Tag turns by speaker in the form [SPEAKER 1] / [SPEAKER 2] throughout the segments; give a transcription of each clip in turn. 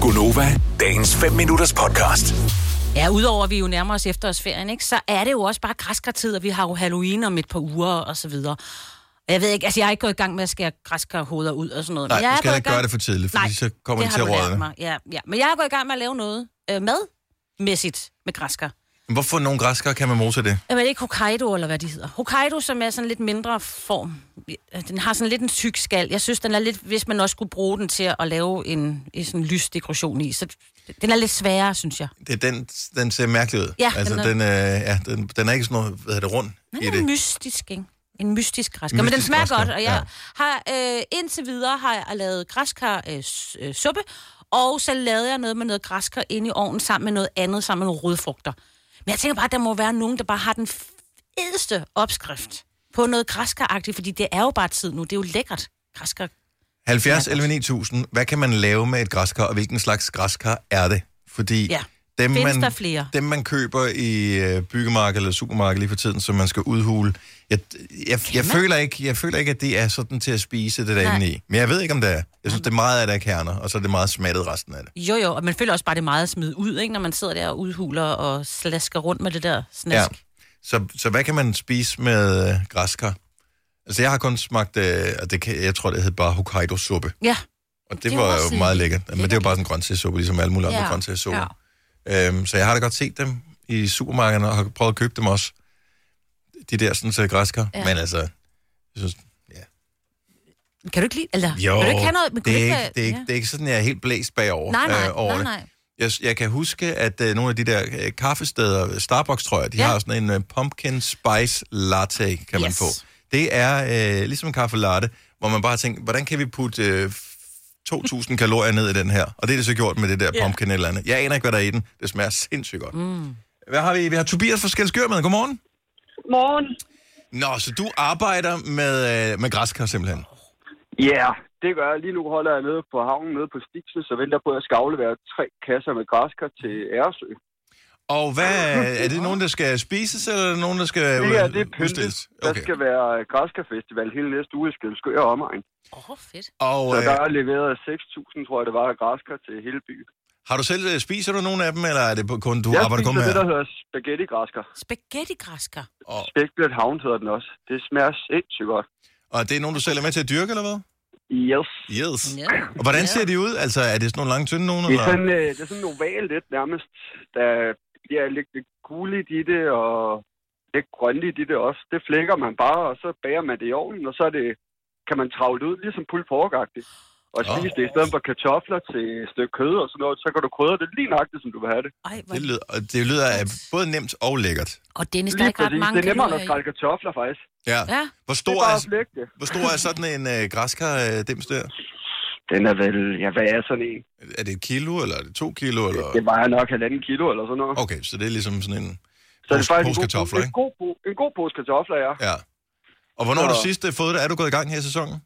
[SPEAKER 1] Gunova, dagens 5 minutters podcast.
[SPEAKER 2] Ja, udover at vi jo nærmer os efterårsferien, ikke, så er det jo også bare græskartid, og vi har jo Halloween om et par uger og så videre. Og Jeg ved ikke, altså jeg er ikke gået i gang med at skære græskarhoveder ud og sådan noget.
[SPEAKER 3] Nej,
[SPEAKER 2] men jeg
[SPEAKER 3] du
[SPEAKER 2] er
[SPEAKER 3] skal
[SPEAKER 2] gået
[SPEAKER 3] heller
[SPEAKER 2] i
[SPEAKER 3] ikke
[SPEAKER 2] gang-
[SPEAKER 3] gøre det for tidligt, fordi
[SPEAKER 2] Nej,
[SPEAKER 3] så kommer
[SPEAKER 2] det
[SPEAKER 3] det til
[SPEAKER 2] har
[SPEAKER 3] at
[SPEAKER 2] du lært
[SPEAKER 3] råde.
[SPEAKER 2] mig. Ja, ja. Men jeg er gået i gang med at lave noget øh, mad mæssigt med græskar.
[SPEAKER 3] Men Hvorfor nogle græskere kan man mose det?
[SPEAKER 2] Jamen, er det ikke Hokkaido, eller hvad de hedder? Hokkaido, som er sådan lidt mindre form. Den har sådan lidt en tyk skal. Jeg synes, den er lidt, hvis man også skulle bruge den til at lave en, en sådan lysdekoration i. Så den er lidt sværere, synes jeg.
[SPEAKER 3] det er den, den ser mærkelig ud.
[SPEAKER 2] Ja,
[SPEAKER 3] altså,
[SPEAKER 2] den
[SPEAKER 3] den
[SPEAKER 2] er-
[SPEAKER 3] er, den, øh, ja, den, den er ikke sådan noget, hvad hedder det, rund
[SPEAKER 2] Den
[SPEAKER 3] i
[SPEAKER 2] er
[SPEAKER 3] det.
[SPEAKER 2] mystisk, ikke? En mystisk græskar. Men den
[SPEAKER 3] Mystisk
[SPEAKER 2] smager
[SPEAKER 3] græskar,
[SPEAKER 2] godt, og jeg
[SPEAKER 3] ja.
[SPEAKER 2] har øh, indtil videre har jeg lavet græskar øh, s- øh, suppe, og så lavede jeg noget med noget græskar inde i ovnen sammen med noget andet, sammen med nogle rødfrugter. Men jeg tænker bare, at der må være nogen, der bare har den fedeste opskrift på noget græskaragtigt, fordi det er jo bare tid nu. Det er jo lækkert. Græskar.
[SPEAKER 3] 70
[SPEAKER 2] Ja, godt.
[SPEAKER 3] 11 9000, hvad kan man lave med et græskar, og hvilken slags græskar er det? Fordi
[SPEAKER 2] Ja.
[SPEAKER 3] dem,
[SPEAKER 2] Findes
[SPEAKER 3] man,
[SPEAKER 2] der flere?
[SPEAKER 3] dem, man køber i øh, byggemarkedet eller supermarkedet lige for tiden, som man skal udhule, jeg, jeg,
[SPEAKER 2] man?
[SPEAKER 3] jeg, føler ikke, jeg føler ikke, at det er sådan til at spise det der
[SPEAKER 2] Nej.
[SPEAKER 3] inde i. Men jeg ved ikke, om det er. Jeg synes, det er meget af det er kerner, og så er det meget smattet resten af det.
[SPEAKER 2] Jo, jo, og man føler også bare, det er meget at smide ud, ikke? når man sidder der og udhuler og slasker rundt med det der snask.
[SPEAKER 3] Så, så hvad kan man spise med øh, græskar? Altså, jeg har kun smagt, øh, og det kan, jeg tror, det hed bare Hokkaido-suppe.
[SPEAKER 2] Ja.
[SPEAKER 3] Og det,
[SPEAKER 2] Det er
[SPEAKER 3] det
[SPEAKER 2] jo
[SPEAKER 3] var
[SPEAKER 2] også
[SPEAKER 3] jo meget lækkert. Men det er jo
[SPEAKER 2] lækkert.
[SPEAKER 3] bare sådan en grøntsagssuppe, ligesom alle mulige andre
[SPEAKER 2] Ja,
[SPEAKER 3] ja. grøntsagssuppe. Ja. Øhm, så jeg har da godt set dem i supermarkederne, og har prøvet at købe dem også. De der sådan så græskar.
[SPEAKER 2] Ja.
[SPEAKER 3] Ja. Men altså, jeg synes,
[SPEAKER 2] Kan du ikke lide... Eller,
[SPEAKER 3] jo,
[SPEAKER 2] kan du ikke have noget... Men
[SPEAKER 3] det,
[SPEAKER 2] kan du
[SPEAKER 3] er ikke,
[SPEAKER 2] have-
[SPEAKER 3] det, er ikke,
[SPEAKER 2] ja.
[SPEAKER 3] det er ikke sådan, jeg er helt blæst bagover
[SPEAKER 2] Nej, nej,
[SPEAKER 3] øh, over
[SPEAKER 2] nej,
[SPEAKER 3] det.
[SPEAKER 2] nej.
[SPEAKER 3] Jeg, jeg kan huske, at øh, nogle af de der øh, kaffesteder, Starbucks tror jeg, de
[SPEAKER 2] Ja.
[SPEAKER 3] ja. har sådan en øh, pumpkin spice latte, kan yes. man
[SPEAKER 2] Yes.
[SPEAKER 3] få. Det er øh, ligesom en kaffe latte, hvor man bare tænker, hvordan kan vi putte øh, 2.000 kalorier ned i den her? Og det er det så gjort med det der
[SPEAKER 2] Ja.
[SPEAKER 3] pumpkin eller andet. Jeg aner ikke, hvad der er i den. Det smager sindssygt godt. Mm. Hvad har vi? Vi har Tobias fra Skelskør med. Godmorgen.
[SPEAKER 4] Morgen.
[SPEAKER 3] Nå, så du arbejder med, øh, med græskar simpelthen.
[SPEAKER 4] Ja, yeah, det gør jeg. Lige nu holder jeg nede på havnen, nede på Stigsen, så venter jeg på, at jeg skal aflevere tre kasser med græskar til Æresø.
[SPEAKER 3] Og hvad, er det nogen, der skal spises, eller er det nogen, der skal
[SPEAKER 4] Det er det
[SPEAKER 3] ud-
[SPEAKER 4] pyntet.
[SPEAKER 3] udstilles?
[SPEAKER 4] Der
[SPEAKER 3] Okay.
[SPEAKER 4] skal være græskarfestival hele næste uge i Skelskør og omegn.
[SPEAKER 2] Åh, oh, fedt.
[SPEAKER 3] Og,
[SPEAKER 4] Så
[SPEAKER 3] øh,
[SPEAKER 4] der er leveret 6.000, tror jeg, det var, af græskar til hele byen.
[SPEAKER 3] Har du selv, øh, spiser du nogen af dem, eller er det kun, du
[SPEAKER 4] jeg
[SPEAKER 3] arbejder kun med?
[SPEAKER 4] det, der hedder spaghetti græskar.
[SPEAKER 2] Spaghetti-græsker.
[SPEAKER 3] Og,
[SPEAKER 4] Spækblæt havn hedder den også. Det smager sindssygt godt.
[SPEAKER 3] og det er nogen, du selv er med til at dyrke, eller hvad?
[SPEAKER 4] Yes.
[SPEAKER 3] Yes.
[SPEAKER 2] Ja.
[SPEAKER 3] Og hvordan
[SPEAKER 2] Ja.
[SPEAKER 3] ser de ud? Altså, er det sådan nogle lange, tynde nogen,
[SPEAKER 4] Det er
[SPEAKER 3] eller?
[SPEAKER 4] sådan, øh, det er sådan en oval lidt nærmest. Der bliver lidt, lidt guligt i det, og lidt grønligt i det også. Det flækker man bare, og så bager man det i ovnen, og så er det, kan man travle det ud, ligesom pulle porkagtigt. Og
[SPEAKER 3] Åh.
[SPEAKER 4] spise det i stedet for kartofler til et stykke kød og sådan noget, så kan du krydre det lige nøjagtigt, som du vil have det.
[SPEAKER 2] Ej, hvor...
[SPEAKER 3] Det lyder, og det lyder af både nemt og lækkert.
[SPEAKER 2] Og Dennis, der er
[SPEAKER 4] Lige
[SPEAKER 2] ikke ret mange
[SPEAKER 4] det er nemmere,
[SPEAKER 2] kalorier
[SPEAKER 4] at skrælle kartofler, faktisk.
[SPEAKER 3] Ja.
[SPEAKER 2] i. Ja,
[SPEAKER 3] Hvor
[SPEAKER 4] Det
[SPEAKER 3] stor
[SPEAKER 4] er bare
[SPEAKER 3] er,
[SPEAKER 4] at flække det.
[SPEAKER 3] hvor stor er sådan en øh, græskar øh, dims der?
[SPEAKER 4] Den er vel, ja, hvad er sådan en?
[SPEAKER 3] Er det et kilo, eller er det to kilo, eller?
[SPEAKER 4] Det vejer nok halvanden kilo eller sådan noget.
[SPEAKER 3] Okay, så det er ligesom sådan en
[SPEAKER 4] så det er faktisk
[SPEAKER 3] pose
[SPEAKER 4] en god,
[SPEAKER 3] kartofler,
[SPEAKER 4] en,
[SPEAKER 3] ikke?
[SPEAKER 4] god, po- en god pose kartofler, ja.
[SPEAKER 3] Ja. Og hvornår har du
[SPEAKER 4] Så-
[SPEAKER 3] sidst øh, fået det? Er du gået i gang her i sæsonen?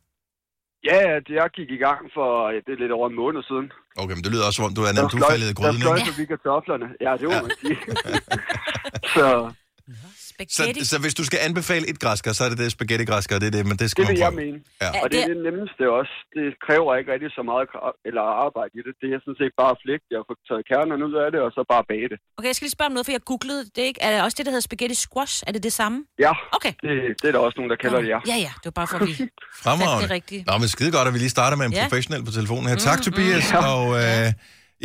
[SPEAKER 4] Ja, ja, det jeg gik i gang for, ja, det er lidt over en måned siden.
[SPEAKER 3] Okay, men det lyder også, som om du er
[SPEAKER 4] Der
[SPEAKER 3] nemt
[SPEAKER 4] fløj-
[SPEAKER 3] ufaldet i gryden,
[SPEAKER 4] Der fløj
[SPEAKER 3] ikke?
[SPEAKER 4] forbi kartoflerne. Ja, det må man sige. så Mhm.
[SPEAKER 2] spaghetti.
[SPEAKER 3] Så, så hvis du skal anbefale et græskar, så er det det spaghetti-græskar, det er det, men det skal
[SPEAKER 4] det
[SPEAKER 3] man
[SPEAKER 4] vil jeg
[SPEAKER 3] prøve.
[SPEAKER 4] mene.
[SPEAKER 3] Ja.
[SPEAKER 4] Og det er det nemmeste også. Det kræver ikke rigtig så meget kra- eller arbejde i det. Det er sådan set bare at flække det og få taget kernerne ud af det, og så bare bage det.
[SPEAKER 2] Okay, jeg skal lige spørge om noget, for jeg googlede det, ikke? Er det også det, der hedder spaghetti squash? Er det det samme?
[SPEAKER 4] Ja,
[SPEAKER 2] Okay.
[SPEAKER 4] det, det er der også nogen, der kalder det, ja.
[SPEAKER 2] Ja, ja, det var bare for, at vi...
[SPEAKER 3] Fremragende.
[SPEAKER 2] Fandt det rigtigt.
[SPEAKER 3] Nå, men skide godt, at vi lige starter med en
[SPEAKER 2] Ja.
[SPEAKER 3] ja. professionel på telefonen her. Tak, Tobias. Og øh,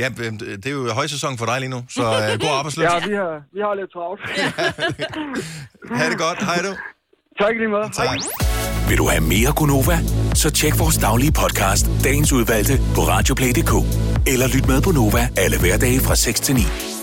[SPEAKER 3] ja, b- det er jo højsæson for dig lige nu, så øh, god arbejdsløs.
[SPEAKER 4] Ja, vi har, vi har lidt travlt.
[SPEAKER 3] Ha' det godt. Hej du.
[SPEAKER 4] tak i lige meget. Hej.
[SPEAKER 3] Tak.
[SPEAKER 1] Vil du have mere Gunova? Så tjek vores daglige podcast, dagens udvalgte, på radioplay.dk. Eller lyt med på Nova alle hverdage fra 6 til 9.